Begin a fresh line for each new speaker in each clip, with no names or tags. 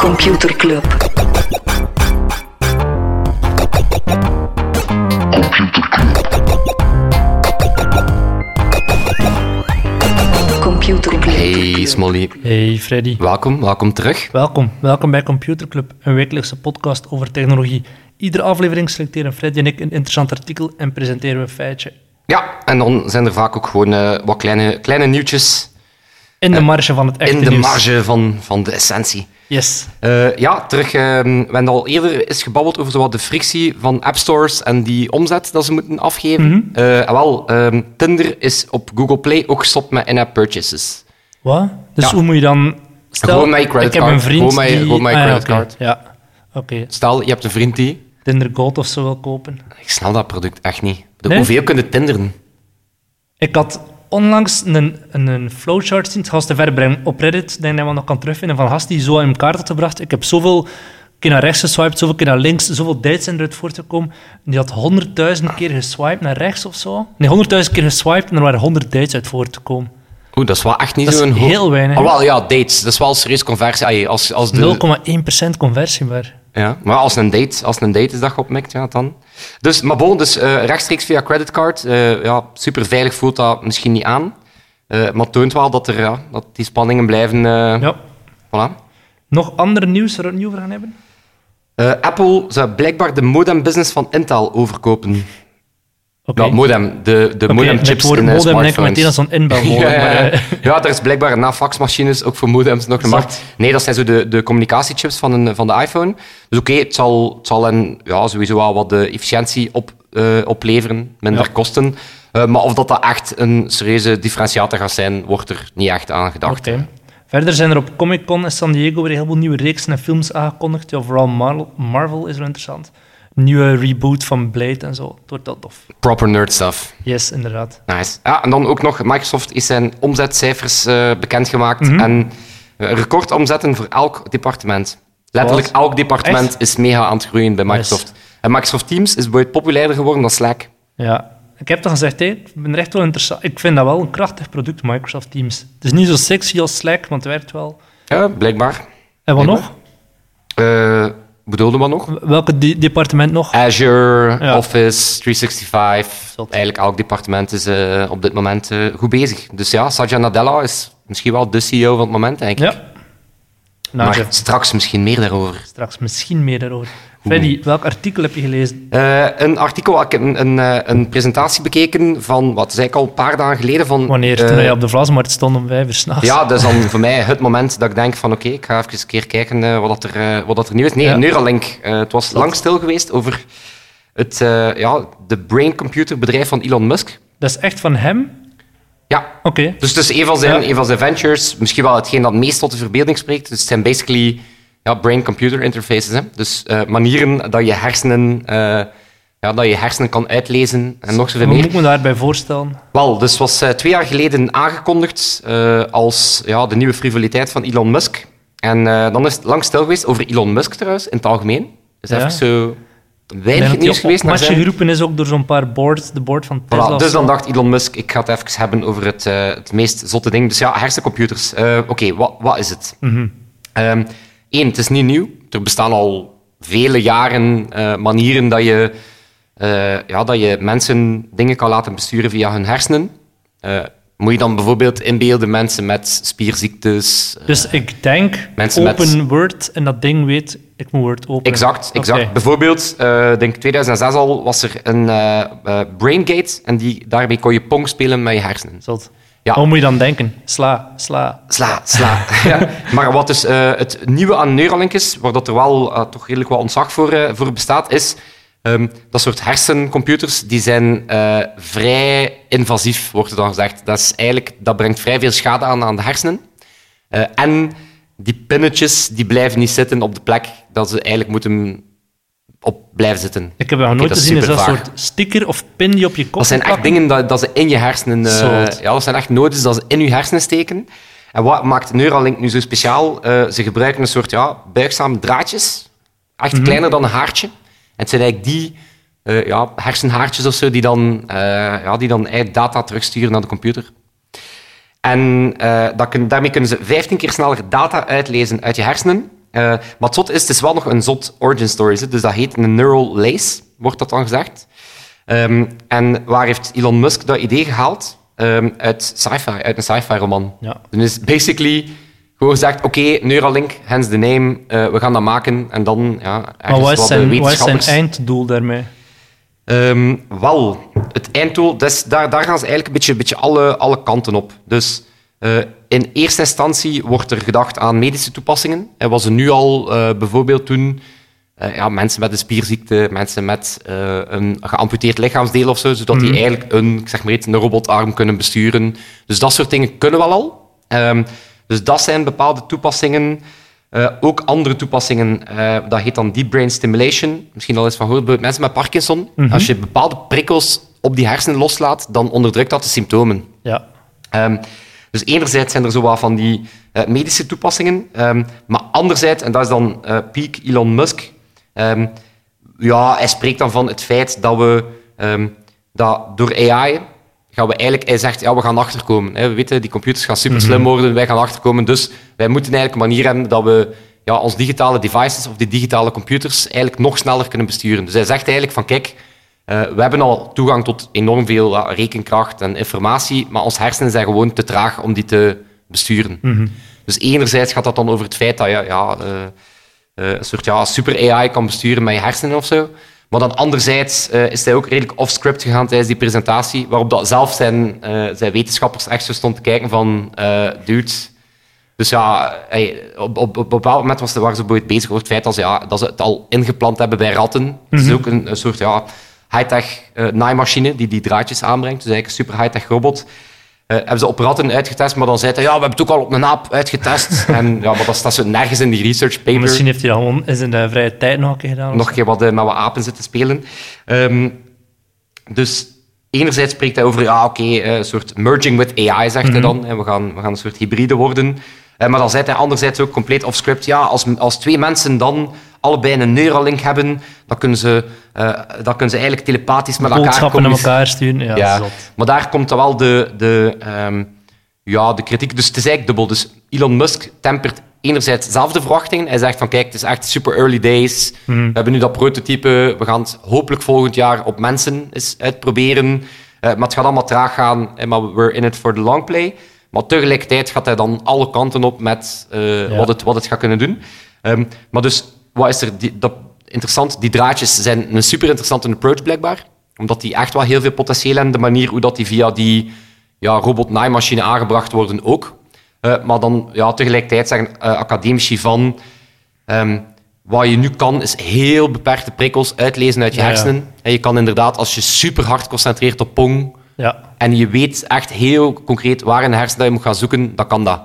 Computer Club. Computer Club.
Hey Smolly,
Hey Freddy.
welkom, welkom terug.
Welkom, welkom bij Computer Club, een wekelijkse podcast over technologie. Iedere aflevering selecteren Freddy en ik een interessant artikel en presenteren we een feitje.
Ja, en dan zijn er vaak ook gewoon eh, wat kleine, kleine nieuwtjes
In de marge van het echte
in de
nieuws.
marge van, van de essentie.
Yes.
Eh, ja, terug. ehm, we hebben al eerder eens gebabbeld over zowat de frictie van appstores en die omzet dat ze moeten afgeven.
Mhm.
Eh, en wel, ehm, Tinder is op Google Play ook gestopt met in-app purchases.
Wat? Dus
Ja.
hoe moet je dan...
Gewoon met je
ik heb
creditcard.
een vriend
Gewoon met je-
die...
gewoon met je
Ah, ja,
creditcard.
oké. Ja, oké.
Stel, je hebt een vriend die...
Tinder Gold of zo wil kopen.
Ik snap dat product echt niet. Ik bedoel,
Nee?
Hoeveel kunnen tinderen?
Ik had onlangs een, een, een flowchart zien, het gaat te ver brengen, op Reddit. Ik denk dat we nog kan terugvinden van gast die zo in elkaar had gebracht. Ik heb zoveel keer naar rechts geswiped, zoveel keer naar links, zoveel dates zijn eruit voortgekomen. Die had honderdduizend keer geswiped naar rechts of zo. Nee, honderdduizend keer geswiped en er waren honderd dates uit voortgekomen.
Oeh, dat is wel echt niet
Dat is
zo'n... ho-
heel weinig.
Ah, wel, ja, dates. Dat is wel een serieus conversie. Ah, je, als, als de...
0,1% conversie maar.
Ja, maar als een date, als een date is dat opmikt, ja, dan. Dus, maar bon, dus eh, rechtstreeks via creditcard, eh, ja, super veilig voelt dat misschien niet aan. Eh, maar het toont wel dat, er, ja, dat die spanningen blijven. eh,
Ja.
voilà.
Nog ander nieuws waar we het nieuw over gaan hebben?
Eh, Apple zou blijkbaar de modem-business van Intel overkopen.
Oké.
Nou, modem, de, de
Oké,
modemchips
met het woord
in eh,
modem denk ik
smartphones.
meteen als zo'n inbelmodem.
ja, ja,
maar,
ja.
eh,
Ja, er is blijkbaar na faxmachines ook voor modems nog een
Zot.
markt. Nee, dat zijn zo de, de communicatiechips van, een, van de iPhone. Dus oké, het zal, het zal een, ja, sowieso wel wat de efficiëntie op, eh, opleveren, minder
Ja.
kosten. Eh, maar of dat, dat echt een serieuze differentiator gaat zijn, wordt er niet echt aan gedacht.
Oké. Verder zijn er op Comic Con in San Diego weer een heleboel nieuwe reeksen en films aangekondigd. Ja, vooral Marvel, Marvel is wel interessant. Een nieuwe reboot van Blade en zo. Het wordt wel tof.
Proper nerd stuff.
Yes, inderdaad.
Nice. Ja, en dan ook nog, Microsoft is zijn omzetcijfers eh, bekendgemaakt.
Mhm.
En eh, recordomzetten voor elk departement. Letterlijk
Wat?
elk departement
Echt?
is mega aan het groeien bij
Nice.
Microsoft. En Microsoft Teams is ooit populairder geworden dan Slack.
Ja. Ik heb toch gezegd, hé, ik ben er echt wel interessant. Ik vind dat wel een krachtig product, Microsoft Teams. Het is niet zo sexy als Slack, want het werkt wel.
Ja, blijkbaar.
En wat
Ja.
nog?
Eh bedoelde wat nog?
Welke de- departement nog?
Azure,
Ja.
Office, 365.
Zot.
Eigenlijk elk departement is eh, op dit moment eh, goed bezig. Dus ja, Satya Nadella is misschien wel de CEO van het moment, denk ik.
Ja. Nou,
maar
Jeff,
straks misschien meer daarover.
straks misschien meer daarover. Freddy, welk artikel heb je gelezen?
Eh, een artikel, ik heb een, een, eh, een presentatie bekeken van, wat zei ik al, een paar dagen geleden. Van,
Wanneer?
eh,
Toen je op de Vlasmarkt stond om vijf uur s'nachts.
Ja, dat is dan voor mij het moment dat ik denk van oké, ik ga even een keer kijken eh, wat, dat er, eh, wat dat er nieuw is. Nee,
Ja.
Neuralink. eh, het was lang stil geweest over het eh, ja, de brain computer bedrijf van Elon Musk.
Dat is echt van hem?
Ja,
Oké.
dus het is een van zijn,
Ja.
een van zijn ventures. Misschien wel hetgeen dat meest tot de verbeelding spreekt. Dus het zijn basically ja, brain-computer interfaces. Hè? Dus eh, manieren dat je hersenen... eh, ja, dat je hersenen kan uitlezen en nog zoveel
Wat
meer.
moet ik me daarbij voorstellen?
Wel, dus was eh, twee jaar geleden aangekondigd eh, als ja, de nieuwe frivoliteit van Elon Musk. En eh, dan is het lang stil geweest over Elon Musk trouwens, in het algemeen. Dus
Ja.
even zo
Ik
weinig
denk dat
nieuws
die
geweest. naar
opmatje
zijn.
geroepen is ook door zo'n paar boards, de board van Tesla.
Voilà,
of
dus
zo.
dan dacht Elon Musk, ik ga het even hebben over het, eh, het meest zotte ding. Dus ja, hersencomputers. Eh, Oké, wat, wat is het?
Mhm.
Ehm, Eén, het is niet nieuw. Er bestaan al vele jaren eh, manieren dat je, eh, ja, dat je mensen dingen kan laten besturen via hun hersenen. Eh, moet je dan bijvoorbeeld inbeelden mensen met spierziektes?
Dus ik denk,
Mensen met-
open Word en dat ding weet, ik moet Word openen.
Exact, exact.
Oké.
Bijvoorbeeld, eh, ik denk 2006 al, was er een eh, eh, braingate en die, daarmee kon je pong spelen met je hersenen.
Zot.
Ja.
Wat moet je dan denken? Sla, sla.
Sla, sla. ja. Maar wat dus eh, het nieuwe aan Neuralink is, waar dat er wel eh, toch redelijk wat ontzag voor, eh, voor bestaat, is ehm, dat soort hersencomputers, die zijn eh, vrij invasief, wordt er dan gezegd. Dat, is eigenlijk, dat brengt vrij veel schade aan aan de hersenen. Eh, en die pinnetjes die blijven niet zitten op de plek dat ze eigenlijk moeten op blijven zitten.
Ik heb dat nog
Oké,
nooit
dat is
gezien. Is dat een
supervaag.
soort sticker of pin die op je kop
Dat zijn echt
plakken?
dingen dat, dat ze in je hersenen... eh,
Zot.
ja, dat zijn echt nodes dat ze in je hersenen steken. En wat maakt Neuralink nu zo speciaal? Eh, ze gebruiken een soort ja, buigzame draadjes. Echt kleiner dan een haartje. En het zijn eigenlijk die eh, ja, hersenhaartjes of zo die dan, eh, ja, die dan eigenlijk data terugsturen naar de computer. En eh, dat kun- daarmee kunnen ze 15 keer sneller data uitlezen uit je hersenen. Eh, maar het zot is, het is wel nog een zot origin story. hè. Dus dat heet een neural lace, wordt dat dan gezegd. Ehm, en waar heeft Elon Musk dat idee gehaald? Ehm, uit sci-fi, uit een sci-fi roman.
Ja.
Dus is basically gewoon gezegd, oké, Neuralink, hence the name, eh, we gaan dat maken. En dan, ja,
Maar
ergens
wat is
wat de
zijn, wat is zijn
wetenschappers...
einddoel daarmee?
Ehm, wel, het einddoel, dat is- daar, daar gaan ze eigenlijk een beetje, beetje alle, alle kanten op. Dus eh, in eerste instantie wordt er gedacht aan medische toepassingen. En wat ze nu al eh, bijvoorbeeld doen, eh, ja, mensen met een spierziekte, mensen met eh, een geamputeerd lichaamsdeel of zo, zodat die eigenlijk een, ik zeg maar iets, een robotarm kunnen besturen. Dus dat soort dingen kunnen wel al. Ehm, dus dat zijn bepaalde toepassingen. Eh, ook andere toepassingen, eh, dat heet dan deep brain stimulation. Misschien al eens van gehoord, bijvoorbeeld mensen met Parkinson. Als je bepaalde prikkels op die hersenen loslaat, dan onderdrukt dat de symptomen.
Ja.
Ehm, dus enerzijds zijn er zo wat van die eh, medische toepassingen, ehm, maar anderzijds, en dat is dan eh peak Elon Musk, ehm, ja, hij spreekt dan van het feit dat we ehm, dat door AI gaan we eigenlijk, hij zegt, ja, we gaan achterkomen. Hè. We weten, die computers gaan super slim worden, wij gaan achterkomen, dus wij moeten eigenlijk een manier hebben dat we ja, onze digitale devices of die digitale computers eigenlijk nog sneller kunnen besturen. Dus hij zegt eigenlijk van, kijk, eh, we hebben al toegang tot enorm veel ja, rekenkracht en informatie, maar ons hersenen zijn gewoon te traag om die te besturen. Dus enerzijds gaat dat dan over het feit dat je ja, eh, eh, een soort ja, super AI kan besturen met je hersenen of zo. Maar dan anderzijds eh, is hij ook redelijk off-script gegaan tijdens die presentatie, waarop dat zelf zijn, eh, zijn wetenschappers echt zo stonden te kijken van, eh dude... Dus ja, hij- op, op, op een bepaald moment was, waren ze bijvoorbeeld bezig over het feit dat ze, ja, dat ze het al ingeplant hebben bij ratten. Het is ook een, een soort ja, high-tech eh, naaimachine die die draadjes aanbrengt. Dus eigenlijk een super high-tech robot. Eh, hebben ze op ratten uitgetest, maar dan zei hij, ja, we hebben het ook al op een aap uitgetest. en ja, maar dat staat zo nergens in die research paper.
Misschien heeft hij dat gewoon eens in de vrije tijd nog een keer gedaan. of
Nog een keer wat eh, met wat apen zitten spelen. Ehm, dus enerzijds spreekt hij over, ja, oké, eh, een soort merging with AI, zegt
Mhm.
hij dan. En we, gaan, we gaan een soort hybride worden. Eh, maar dan zegt hij anderzijds ook compleet off-script, ja, als, als twee mensen dan allebei een Neuralink hebben, dan kunnen ze, eh, dan kunnen ze eigenlijk telepathisch met elkaar
boodschappen naar
communiceren.
elkaar sturen. Ja,
Ja,
zot.
maar daar komt dan wel de, de, ehm, ja, de kritiek. Dus het is eigenlijk dubbel. Dus Elon Musk tempert enerzijds zelf de verwachtingen. Hij zegt van kijk, het is echt super early days.
Hmm.
We hebben nu dat prototype. We gaan het hopelijk volgend jaar op mensen eens uitproberen. Eh, maar het gaat allemaal traag gaan. eh, Maar we're in it for the long play. Maar tegelijkertijd gaat hij dan alle kanten op met eh,
Ja.
wat, het, wat het gaat kunnen doen. Ehm, maar dus, wat is er? Die, dat, interessant, die draadjes zijn een super interessante approach blijkbaar. Omdat die echt wel heel veel potentieel hebben. De manier hoe dat die via die ja, robot-naaimachine aangebracht worden ook. Eh, maar dan ja, tegelijkertijd zeggen eh, academici van... ehm, wat je nu kan, is heel beperkte prikkels uitlezen uit je
Ja, ja.
hersenen. En je kan inderdaad, als je super hard concentreert op pong,
Ja.
en je weet echt heel concreet waar in de hersenen dat je moet gaan zoeken, dan kan dat.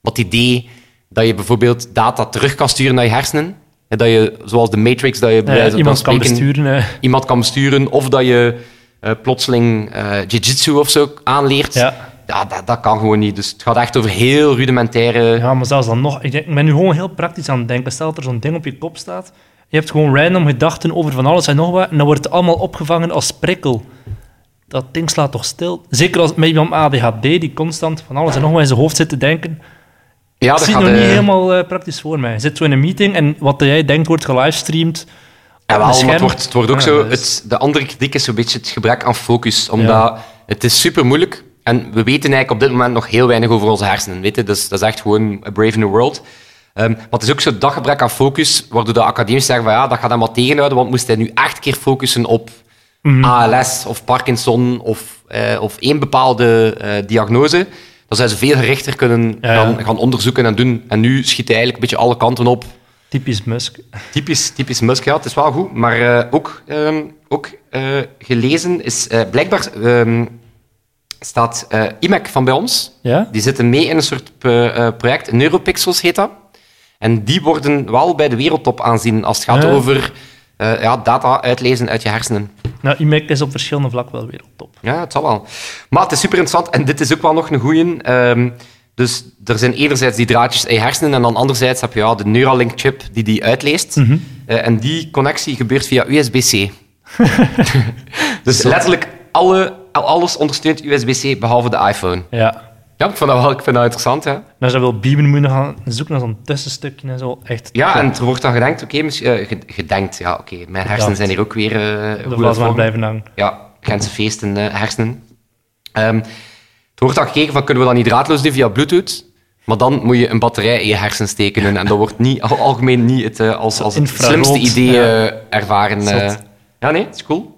Wat het idee dat je bijvoorbeeld data terug kan sturen naar je hersenen, en dat je, zoals de Matrix, dat je bij
Ja,
wijze van
Eh, iemand kan
spreken
besturen. eh.
iemand kan besturen, of dat je eh, plotseling eh jiu-jitsu of zo aanleert,
Ja.
Ja, dat, dat kan gewoon niet. Dus het gaat echt over heel rudimentaire...
Ja, maar zelfs dan nog. Ik, denk, ik ben nu gewoon heel praktisch aan het denken. Stel dat er zo'n ding op je kop staat. Je hebt gewoon random gedachten over van alles en nog wat. En dan wordt het allemaal opgevangen als prikkel. Dat ding slaat toch stil? Zeker als met iemand met ADHD die constant van alles en nog wat in zijn hoofd zit te denken.
Ja,
ik zie het nog
Ah, eh,
niet helemaal eh, praktisch voor mij. Je zit zo in een meeting en wat jij denkt wordt gelivestreamd.
Ja,
op
wel,
een
maar
scherm.
het wordt, het wordt ook
Ja,
zo.
dat is-
Het, de andere kritiek is zo'n beetje het gebrek aan focus. Omdat
Ja.
het is super moeilijk. En we weten eigenlijk op dit moment nog heel weinig over onze hersenen. Weet je? Dus dat is echt gewoon a brave new world. Ehm, maar het is ook zo dat gebrek aan focus, waardoor de academici zeggen van ja, dat gaat hem wat tegenhouden, want moest hij nu echt keer focussen op
Mhm.
ALS of Parkinson of, eh, of één bepaalde eh, diagnose, dan zijn ze veel gerichter kunnen
Ja, ja.
Gaan, gaan onderzoeken en doen. En nu schiet hij eigenlijk een beetje alle kanten op.
Typisch Musk.
Typisch, typisch Musk, ja, het is wel goed. Maar eh, ook, ehm, ook eh, gelezen is eh, blijkbaar ehm, staat eh, IMEC van bij ons.
Ja?
Die zitten mee in een soort eh, eh, project, Neuropixels heet dat. En die worden wel bij de wereldtop aanzien als het gaat
Ja.
over eh, ja, data uitlezen uit je hersenen.
Nou, IMEC is op verschillende vlakken wel wereldtop.
Ja, het zal wel. Maar het is super interessant en dit is ook wel nog een goeie. Ehm, dus er zijn enerzijds die draadjes in je hersenen en dan anderzijds heb je ja, de Neuralink-chip die die uitleest. Eh, en die connectie gebeurt via USB-C. dus letterlijk alle, alles ondersteunt USB-C behalve de iPhone.
Ja.
Ja, ik vind dat wel ik vind dat interessant. Ja,
En als je Nou, wil beamen, moet je gaan zoeken naar zo'n tussenstukje en zo. Echt
ja
top.
en er wordt dan gedenkt, oké, misschien eh, ge- gedenkt. Ja, oké, mijn hersenen
Gedacht.
zijn hier ook weer eh
de
goed aan het
was maar
vormen.
blijven hangen.
Ja, Gentse feesten, eh, hersenen. Ehm er wordt dan gekeken van, kunnen we dat niet draadloos doen via bluetooth? Maar dan moet je een batterij in je hersen steken. En, en dat wordt niet, al- algemeen niet het, eh, als, als het
Infrarood,
slimste idee
ja.
eh, ervaren. eh.
Zot.
ja, nee, het is cool.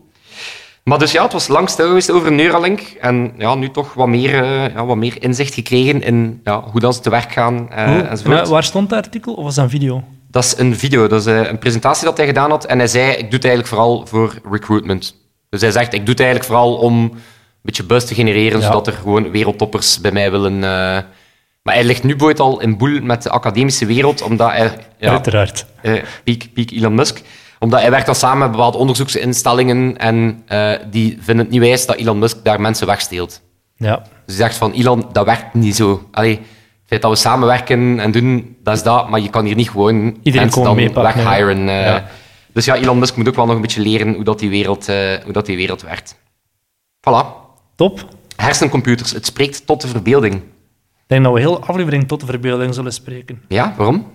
Maar dus ja, het was lang stil geweest over Neuralink. En ja, nu toch wat meer, eh, ja, wat meer inzicht gekregen in ja, hoe dat ze te werk gaan eh
Hoe-
enzovoort.
waar- waar stond dat artikel of was dat een video?
Dat is een video, dat is eh, een presentatie dat hij gedaan had. En hij zei, ik doe het eigenlijk vooral voor recruitment. Dus hij zegt, ik doe het eigenlijk vooral om een beetje buzz te genereren,
Ja.
zodat er gewoon wereldtoppers bij mij willen... eh, Maar hij ligt nu bijvoorbeeld al in boel met de academische wereld, omdat hij... Ja,
Uiteraard.
eh, piek, piek Elon Musk. Omdat hij werkt dan samen met bepaalde onderzoeksinstellingen en eh, die vinden het niet wijs dat Elon Musk daar mensen wegsteelt.
Ja.
Dus ik dacht van, Ilan, dat werkt niet zo. Allee, het feit dat we samenwerken en doen, dat is dat. Maar je kan hier niet gewoon mensen
gewoon
dan
meepakken,
weghiren. eh.
Ja.
Dus ja, Elon Musk moet ook wel nog een beetje leren hoe dat die wereld, eh, hoe dat die wereld werkt. Voilà.
Top. Ik
Hersencomputers, het spreekt tot de verbeelding.
denk dat we heel aflevering tot de verbeelding zullen spreken.
Ja, waarom?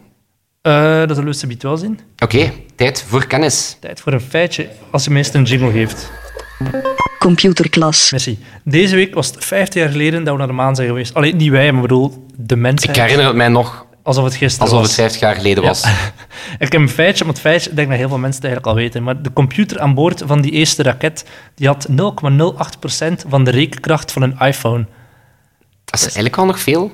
Eh, dat zullen we subiet wel zien.
Oké, tijd voor kennis.
Tijd voor een feitje, als je meest een jingle heeft.
Computer Club.
Missie. Deze week was het 50 jaar geleden dat we naar de maan zijn geweest. Alleen niet wij, maar ik bedoel de
Ik
mensheid.
herinner het mij nog
Alsof het gisteren
alsof
was.
het 50 jaar geleden was.
Ik heb een feitje, want het feitje, ik denk dat heel veel mensen het eigenlijk al weten, maar de computer aan boord van die eerste raket, die had 0,08% van de rekenkracht van een iPhone.
Dat is eigenlijk al nog veel.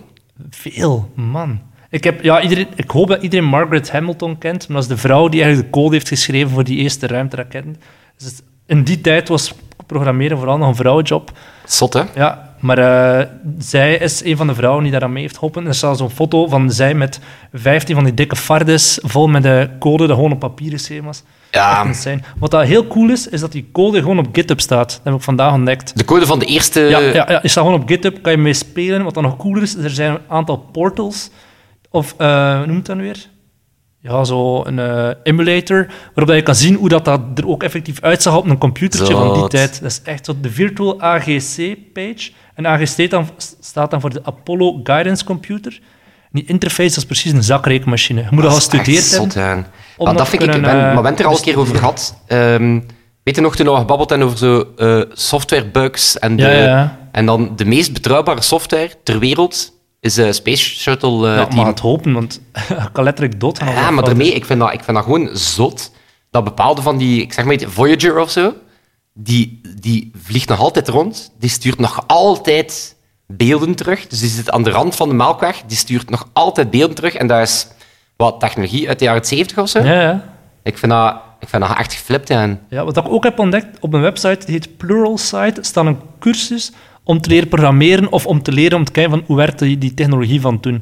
Veel, man. Ik, heb, ja, iedereen, ik hoop dat iedereen Margaret Hamilton kent, maar dat is de vrouw die eigenlijk de code heeft geschreven voor die eerste ruimteraketten. Dus het- in die tijd was programmeren vooral nog een vrouwenjob.
Zot, hè?
Ja, maar eh, zij is een van de vrouwen die daaraan mee heeft geholpen. Er staat zo'n foto van zij met 15 van die dikke fardes, vol met de code dat gewoon op papier geschreven was.
Ja.
Echt insane. Wat dat heel cool is, is dat die code gewoon op GitHub staat. Dat heb ik vandaag ontdekt.
De code van de eerste...
Ja, ja, ja, je staat gewoon op GitHub, kan je mee spelen. Wat dan nog cooler is, is er zijn een aantal portals, of eh, hoe noemt dat nu weer? Ja, zo een eh, emulator, waarop dat je kan zien hoe dat, dat er ook effectief uitzag op een computertje van die
Zot.
tijd. Dat is echt zo de virtual AGC-page. En AGC dan, staat dan voor de Apollo Guidance Computer. En die interface dat is precies een zakrekenmachine. Je moet dat al
is echt
gestudeerd hebben.
zot, hè.
om
Maar
dat
dat vind
te
ik, ik
kunnen,
ben, maar
eh,
we hebben het er al een keer over gehad. Ehm, weet je nog, toen we gebabbeld hebben over zo eh, softwarebugs en, de,
Ja, ja, ja.
en dan de meest betrouwbare software ter wereld is eh Space Shuttle eh
Ja, maar
Team.
het hopen, want ik kan letterlijk doodgaan. als
ja,
dat
maar
fout is.
daarmee, ik vind, dat, ik vind dat gewoon zot. Dat bepaalde van die, ik zeg maar iets, Voyager of zo, die, die vliegt nog altijd rond. Die stuurt nog altijd beelden terug. Dus die zit aan de rand van de melkweg. Die stuurt nog altijd beelden terug. En dat is wat technologie uit de jaren 70 of zo.
Ja, ja.
Ik vind dat, ik vind dat echt geflipt. En
Ja, wat ik ook heb ontdekt op een website, die heet Pluralsight, staat een cursus om te leren programmeren of om te leren om te kijken van hoe werkt die, die technologie van
dat
toen.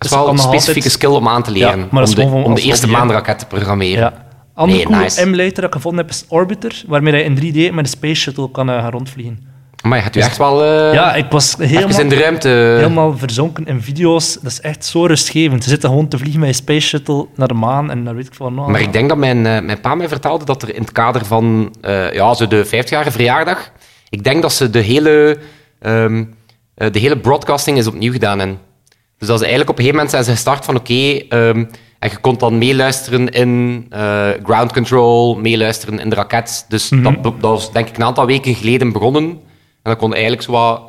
Dus
is wel
kan
een
nog
specifieke
altijd-
skill om aan te leren.
Ja, maar dat is
om de,
gewoon
om de
als
eerste
hobby, hè.
maandraket te programmeren.
Ja. Andere
Nee,
coole
nice.
emulator dat ik gevonden heb is Orbiter, waarmee je in 3D met de Space Shuttle kan eh, gaan rondvliegen.
Maar je gaat u echt wel eh
ja, ik was
even in
helemaal,
de ruimte. eh,
helemaal verzonken in video's. Dat is echt zo rustgevend. Je zit daar gewoon te vliegen met je Space Shuttle naar de maan en naar weet ik veel wat.
Maar ik denk dat mijn, eh, mijn pa mij vertelde dat er in het kader van eh, ja, zo de 50-jarige verjaardag. Ik denk dat ze de hele, ehm, eh, de hele broadcasting is opnieuw gedaan. En dus dat ze eigenlijk op een gegeven moment zijn ze gestart van oké. ehm, en je kon dan meeluisteren in eh, ground control, meeluisteren in de raket. Dus dat, be- dat was denk ik een aantal weken geleden begonnen. En dan kon je eigenlijk zo, wat,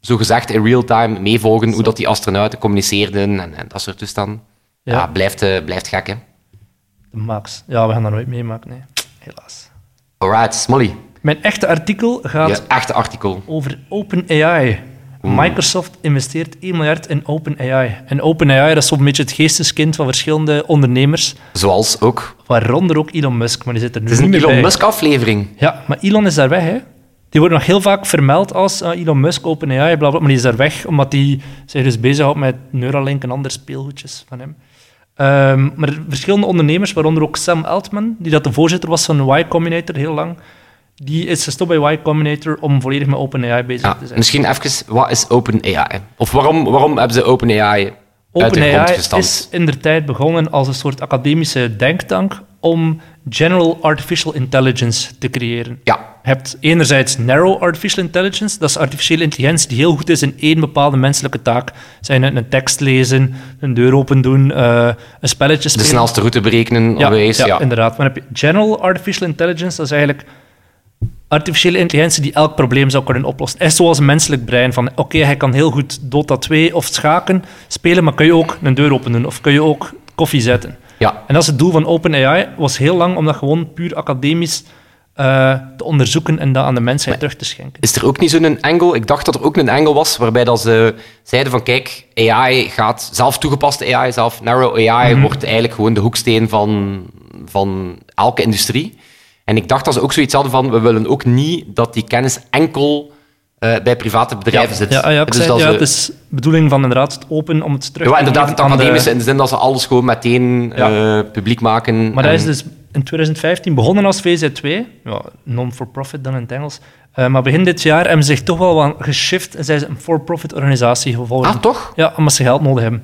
zo gezegd in real time meevolgen hoe dat die astronauten communiceerden en, en dat soort toestanden. Ja,
Ja.
blijft, eh, blijft gek, hè.
De Max. Ja, we gaan dat nooit meemaken. Nee. Helaas.
Alright, Smolly.
Mijn echte artikel gaat
Je echte artikel.
over OpenAI.
Hmm.
Microsoft investeert 1 miljard in OpenAI. En OpenAI dat is zo'n beetje het geesteskind van verschillende ondernemers,
Zoals ook.
waaronder ook Elon Musk, maar die zit er nu
Het is
niet
een
meer
Elon
bij.
Musk-aflevering.
Ja, maar Elon is daar weg, hè. Die wordt nog heel vaak vermeld als eh, Elon Musk, OpenAI, bla, bla, bla, maar die is daar weg, omdat hij zich dus bezighoudt met Neuralink en andere speelgoedjes van hem. Ehm, maar verschillende ondernemers, waaronder ook Sam Altman, die dat de voorzitter was van Y Combinator heel lang, die is gestopt bij Y Combinator om volledig met OpenAI bezig
Ja,
te zijn.
misschien even, wat is OpenAI? Of waarom, waarom hebben ze OpenAI uit de grond
OpenAI
gestampt?
is in de tijd begonnen als een soort academische denktank om general artificial intelligence te creëren.
Ja,
Je hebt enerzijds narrow artificial intelligence, dat is artificiële intelligentie die heel goed is in één bepaalde menselijke taak. Zijn het een tekst lezen, een deur open doen, eh, een spelletje
de
spelen.
snelste route berekenen, ja, onwijs. Ja,
inderdaad. Maar dan heb je general artificial intelligence, dat is eigenlijk artificiële intelligentie die elk probleem zou kunnen oplossen. Is zoals een menselijk brein van, oké, hij kan heel goed Dota 2 of schaken spelen, maar kun je ook een deur open doen of kun je ook koffie zetten.
Ja.
En dat is het doel van OpenAI, was heel lang om dat gewoon puur academisch eh, te onderzoeken en dat aan de mensheid terug te schenken.
Is er ook niet zo'n angle? Ik dacht dat er ook een angle was waarbij dat ze zeiden van kijk, AI gaat, zelf toegepaste AI, zelf narrow AI,
Mhm.
wordt eigenlijk gewoon de hoeksteen van, van elke industrie. En ik dacht dat ze ook zoiets hadden van we willen ook niet dat die kennis enkel eh, bij private bedrijven zit.
Ja, ja, ik
Dus
zei,
dat
ja,
ze-
het is de bedoeling van inderdaad het open om het terug
ja,
te
inderdaad, het
geven aan de-
academische in de zin dat ze alles gewoon meteen
Ja.
eh, publiek maken.
Maar dat
en-
is dus in 2015 begonnen als VZ2, ja, non-for-profit dan in het Engels. Eh, maar begin dit jaar hebben ze zich toch wel wat geshift en zijn ze een for-profit organisatie geworden.
Ah, toch?
Ja, omdat ze geld nodig hebben.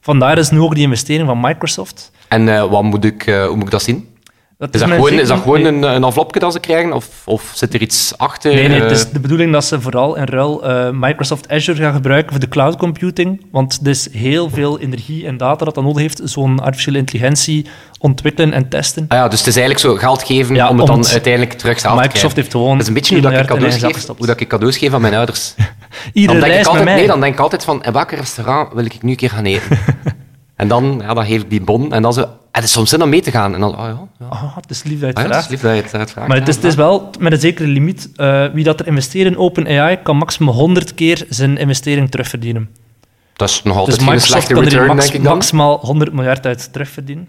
Vandaar is nu ook die investering van Microsoft.
En eh, wat moet ik, eh, hoe moet ik dat zien? Is dat
mijn
gewoon, is
zeker-
dat gewoon
nee.
een, een envelopje dat ze krijgen? Of, of zit er iets achter?
Nee, nee, het
Eh,
is de bedoeling dat ze vooral in ruil eh, Microsoft Azure gaan gebruiken voor de cloud computing. Want er is heel veel energie en data dat dat nodig heeft, zo'n artificiële intelligentie ontwikkelen en testen.
Ah ja, dus het is eigenlijk zo geld geven
Ja,
om het
om
dan
het-
uiteindelijk terug zelf te
Microsoft
krijgen.
heeft gewoon
Dat is een beetje hoe dat, ik
10 miljard in
cadeaus
eigen zak
geef,
gestopt.
hoe dat ik cadeaus geef aan mijn ouders. Dan
Iedere
denk ik
reis met
altijd,
mij.
nee, dan denk ik altijd van, in welk restaurant wil ik nu een keer gaan eten? en dan, ja, dan geef ik die bon en dan zo... Het is soms zin om mee te gaan. En dan, oh ja, ja.
Ah, het is lief dat je het
Ah ja, dat
vraagt.
is lief dat je het uitvraagt.
Maar het is,
Ja,
het is wel met een zekere limiet. eh, wie dat er investeert in OpenAI kan maximaal 100 keer zijn investering terugverdienen.
Oh, Dat is nog
Dus
altijd geen
Microsoft
slechte
kan er hier
return,
max-
denk ik dan.
maximaal 100 miljard uit terugverdienen.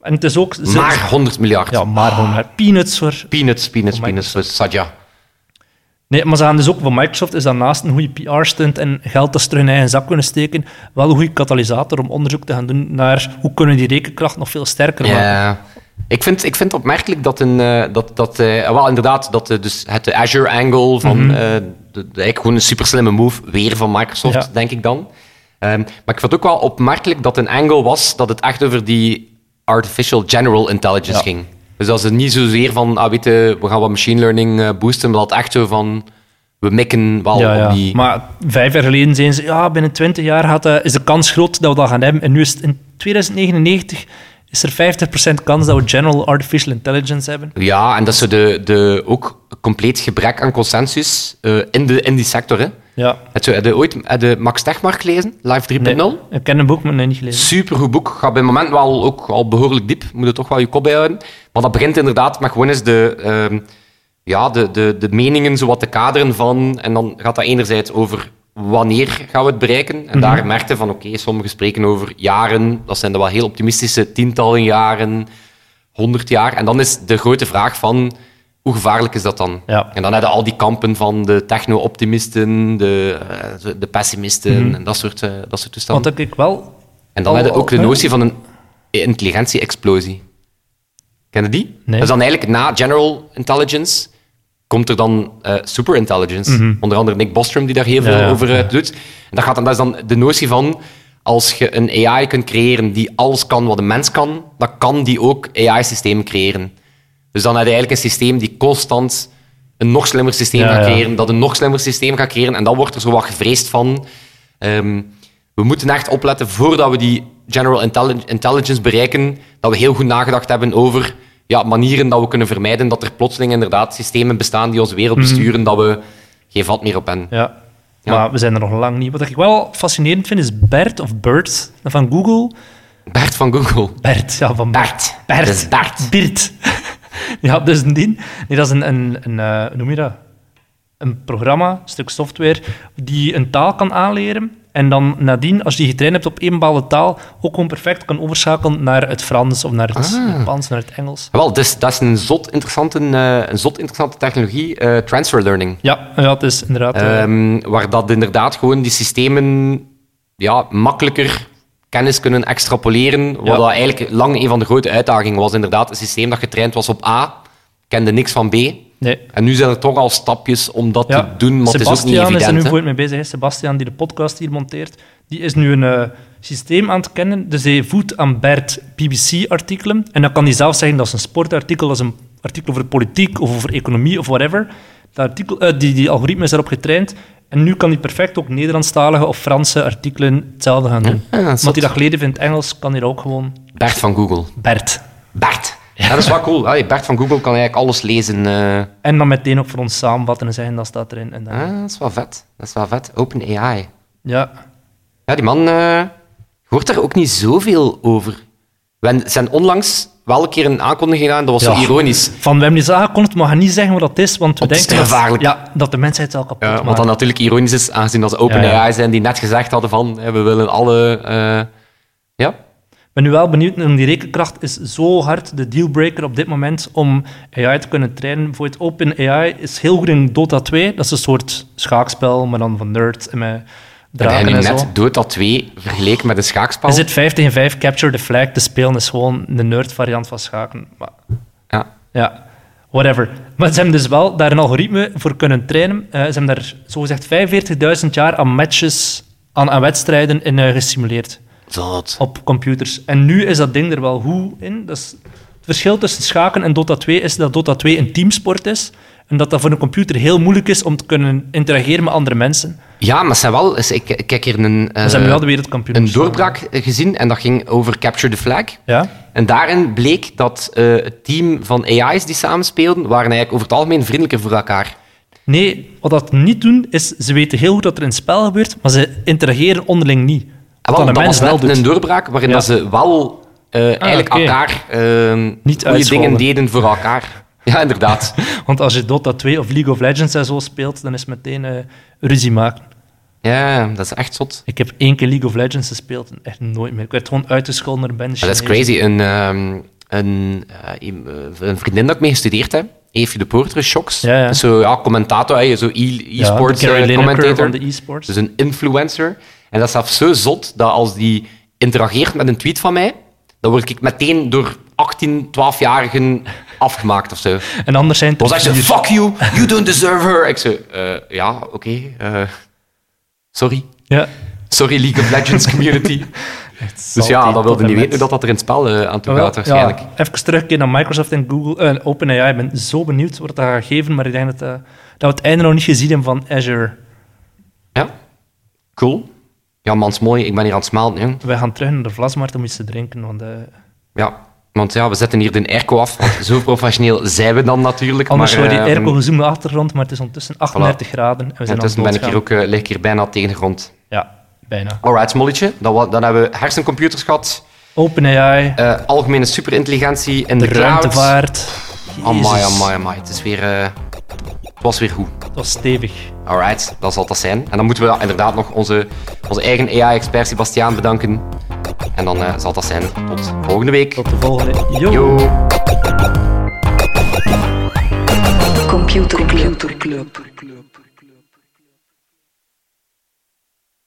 En het is ook... ze-
Maar 100 miljard.
Ja, Oh maar gewoon maar peanuts voor...
Peanuts, peanuts,
Voor
peanuts. Dus Sadja.
Nee, maar ze gaan dus ook van Microsoft is daarnaast een goede PR-stunt en geld dat ze terug in hun eigen zak kunnen steken, wel een goede katalysator om onderzoek te gaan doen naar hoe kunnen die rekenkracht nog veel sterker maken.
Ja. Ik vind, ik vind het opmerkelijk dat, een, eh, dat, dat eh, wel inderdaad, dat eh, dus het Azure angle van
Mhm.
eh, de- de- eigenlijk gewoon een super slimme move, weer van Microsoft,
Ja.
denk ik dan. Ehm, maar ik vond het ook wel opmerkelijk dat een angle was dat het echt over die artificial general intelligence
Ja.
ging. Dus dat ze niet zozeer van, ah, weet je, we gaan wat machine learning eh, boosten, maar dat het echt zo van, we mikken wel
Ja, ja.
op die...
Maar vijf jaar geleden zeiden ze, ja, binnen 20 jaar gaat, eh, is de kans groot dat we dat gaan hebben. En nu is het in 2099 is er 50% kans dat we general artificial intelligence hebben.
Ja, en dat ze de, de, ook compleet gebrek aan consensus eh, in, de, in die sector, hè.
Ja.
Heb je, heb je ooit heb je Max Tegmark gelezen? Live 3.0?
Nee, ik ken een boek, maar nee, niet gelezen.
Supergoed boek. Gaat bij het moment wel ook al behoorlijk diep. Moet je toch wel je kop bijhouden. Maar dat begint inderdaad met gewoon eens de, ehm, ja, de, de, de meningen, zo wat te kaderen van. En dan gaat dat enerzijds over wanneer gaan we het bereiken. En daar merkte van, oké, sommigen spreken over jaren. Dat zijn dan wel heel optimistische tientallen jaren, honderd jaar. En dan is de grote vraag van, hoe gevaarlijk is dat dan?
Ja.
En dan hebben al die kampen van de techno-optimisten, de, eh, de pessimisten en dat soort, eh, dat soort toestanden.
Want dat ik wel...
En dan
Al-
heb je
al-
ook de
hè?
notie van een intelligentie-explosie. Ken je die?
Nee.
Dat is dan eigenlijk na general intelligence komt er dan eh, superintelligence. Onder andere Nick Bostrom die daar heel veel
Mhm. Ja, ja.
over eh, doet. En dat, gaat dan, dat is dan de notie van als je een AI kunt creëren die alles kan wat een mens kan, dan kan die ook AI-systemen creëren. Dus dan heb je eigenlijk een systeem die constant een nog slimmer systeem
Ja,
gaat
ja.
creëren dat een nog slimmer systeem gaat creëren. En dan wordt er zo wat gevreesd van. ehm, we moeten echt opletten voordat we die general intelli- intelligence bereiken, dat we heel goed nagedacht hebben over ja, manieren dat we kunnen vermijden dat er plotseling inderdaad systemen bestaan die onze wereld besturen, dat we geen vat meer op hebben.
Mhm. Ja.
Ja.
Maar we zijn er nog lang niet. Wat ik wel fascinerend vind, is Bert of Bert van Google.
Bert van Google.
Bert, ja, van
Bert.
Bert.
Dat is Bert.
Birt. ja, dus een ding. Nee, dat is een, een, een eh, hoe noem je dat? Een programma, een stuk software, die een taal kan aanleren. En dan nadien, als je die getraind hebt op één bepaalde taal, ook gewoon perfect kan overschakelen naar het Frans of naar het
Ah.
Japans, naar het Engels.
Wel, dus, dat is een zot interessante, eh, een zot interessante technologie, eh, transfer learning.
Ja, ja, het is inderdaad. eh,
Ehm, waar dat inderdaad gewoon die systemen ja, makkelijker kennis kunnen extrapoleren. Wat
Ja.
dat eigenlijk lang een van de grote uitdagingen was. Inderdaad, een systeem dat getraind was op A, kende niks van B.
nee.
En nu zijn er toch al stapjes om dat
Ja.
te doen, maar het is ook niet
Sebastiaan
evident.
is er nu
hè.
goed mee bezig. hè. Sebastiaan, die de podcast hier monteert, die is nu een eh, systeem aan het kennen. Dus hij voedt aan Bert BBC-artikelen. En dan kan hij zelf zeggen dat is een sportartikel, dat is een artikel over politiek of over economie of whatever. Dat artikel, eh, die, die algoritme is daarop getraind. En nu kan hij perfect ook Nederlandstalige of Franse artikelen hetzelfde gaan doen.
Ja, dat is
Wat
zot.
hij dat geleden vindt Engels, kan hij dat ook gewoon
Bert van Google.
Bert.
Bert. Dat is wel cool. Allee, Bert van Google kan eigenlijk alles lezen. eh.
En dan meteen ook voor ons samenvatten en zeggen dat staat erin. En dan,
Ah, dat is wel vet. Dat is wel vet. Open AI.
Ja.
Ja, die man eh, hoort daar ook niet zoveel over. We zijn onlangs wel een keer een aankondiging gedaan, dat was
Ja.
zo ironisch.
Van we hebben iets aangekondigd, maar we gaan niet zeggen wat dat is, want we
Het is
denken
te
dat-
gevaarlijk.
ja, dat de mensheid het al kapot
Ja,
maakt.
wat dan natuurlijk ironisch is, aangezien dat ze OpenAI
Ja,
zijn die net gezegd hadden van hè, we willen alle... eh, ja,
Ik ben nu wel benieuwd, want die rekenkracht is zo hard de dealbreaker op dit moment om AI te kunnen trainen. Bijvoorbeeld OpenAI is heel goed in Dota 2. Dat is een soort schaakspel, maar dan van nerds en met
en hij
draken
nu
en, zo.
net Dota 2 vergeleken met een schaakspel.
Is het 5 tegen 5 Capture the Flag te spelen? is gewoon de nerd variant van schaken. Maar,
Ja.
ja, whatever. Maar ze hebben dus wel daar een algoritme voor kunnen trainen. Eh, ze hebben daar zogezegd 45.000 jaar aan matches, aan, aan wedstrijden in eh, gesimuleerd
Zot.
op computers. En nu is dat ding er wel goed in. Dat is- het verschil tussen schaken en Dota 2 is dat Dota 2 een teamsport is. En dat dat voor een computer heel moeilijk is om te kunnen interageren met andere mensen.
Ja, maar ze zijn wel... eens- Ik, ik kijk hier een, eh,
We zijn nu wel de wereldkampioen.
een doorbraak gezien en dat ging over Capture the Flag.
Ja.
En daarin bleek dat eh, het team van AI's die samenspeelden, waren eigenlijk over het algemeen vriendelijker voor elkaar.
Nee, wat dat niet doen, is ze weten heel goed wat er in het spel gebeurt, maar ze interageren onderling niet.
En
Wat dan
Ah, wel,
een
dat
mens
was
wel
net
doet.
een doorbraak waarin
Ja. Ah,
dat ze wel eh, eigenlijk
oké.
elkaar ehm
Niet
goede dingen
uitscholden.
deden voor elkaar. Ja, inderdaad.
Want als je Dota 2 of League of Legends en zo speelt, dan is het meteen eh, ruzie maken.
Ja, dat is echt zot.
Ik heb één keer League of Legends gespeeld en echt nooit meer. Ik werd gewoon uitgescholden door een bende
Ja, Ah, dat is
Chinezen.
crazy. Een, ehm, een, eh, iem- eh, een vriendin dat ik mee gestudeerd heb, Eefje de Poorter, Shocks.
Ja, ja.
Zo, ja, commentator, hè, zo e-
Ja, de
e-sports eh,
Carrie Lineker
commentator.
van de e-sports.
Dus een influencer. En dat is zelfs zo zot dat als die interageert met een tweet van mij, dan word ik meteen door 18, 12-jarigen afgemaakt of zo.
En anders zijn het
Dan
er
zegt ze,
vier.
fuck you, you don't deserve her. Ik zo, eh, ja, oké. eh, sorry.
Ja.
Sorry, League of Legends community. dus ja, dat wilde niet weten hoe dat, dat er in het spel eh, aan toe
Jawel,
gaat, waarschijnlijk.
ja. Even terugkeren naar Microsoft en Google eh, en OpenAI. Ik ben zo benieuwd wat dat gaat geven, maar ik denk dat, eh, dat we het einde nog niet gezien hebben van Azure.
Ja. Cool. Ja, mans mooi. Ik ben hier aan het smelten, jong.
Wij gaan terug naar de vlasmarkt om iets te drinken, want eh,
Ja. Want ja, we zetten hier de airco af. Want zo professioneel zijn we dan natuurlijk.
anders
maar,
wordt die
eh,
airco gezoomd naar de achtergrond, maar het is ondertussen 38 graden en we
en
zijn aan het
Intussen ben ik
doodgaan.
hier ook, eh, lig ik hier bijna tegen de grond.
Ja, bijna.
Alright, smolletje. Dan, wa- dan hebben we hersencomputers gehad.
OpenAI,
eh, algemene superintelligentie in
de
de, cloud.
ruimtevaart.
Amai,
Jezus,
amai, amai. Het, is weer, eh, het was weer goed.
Het was stevig.
Alright, dat zal dat zijn. En dan moeten we inderdaad nog onze, onze eigen AI-expert Sebastiaan bedanken. En dan eh, zal dat zijn. Tot volgende week.
Tot de volgende. Yo.
Yo.
Computer Club. Computer Club.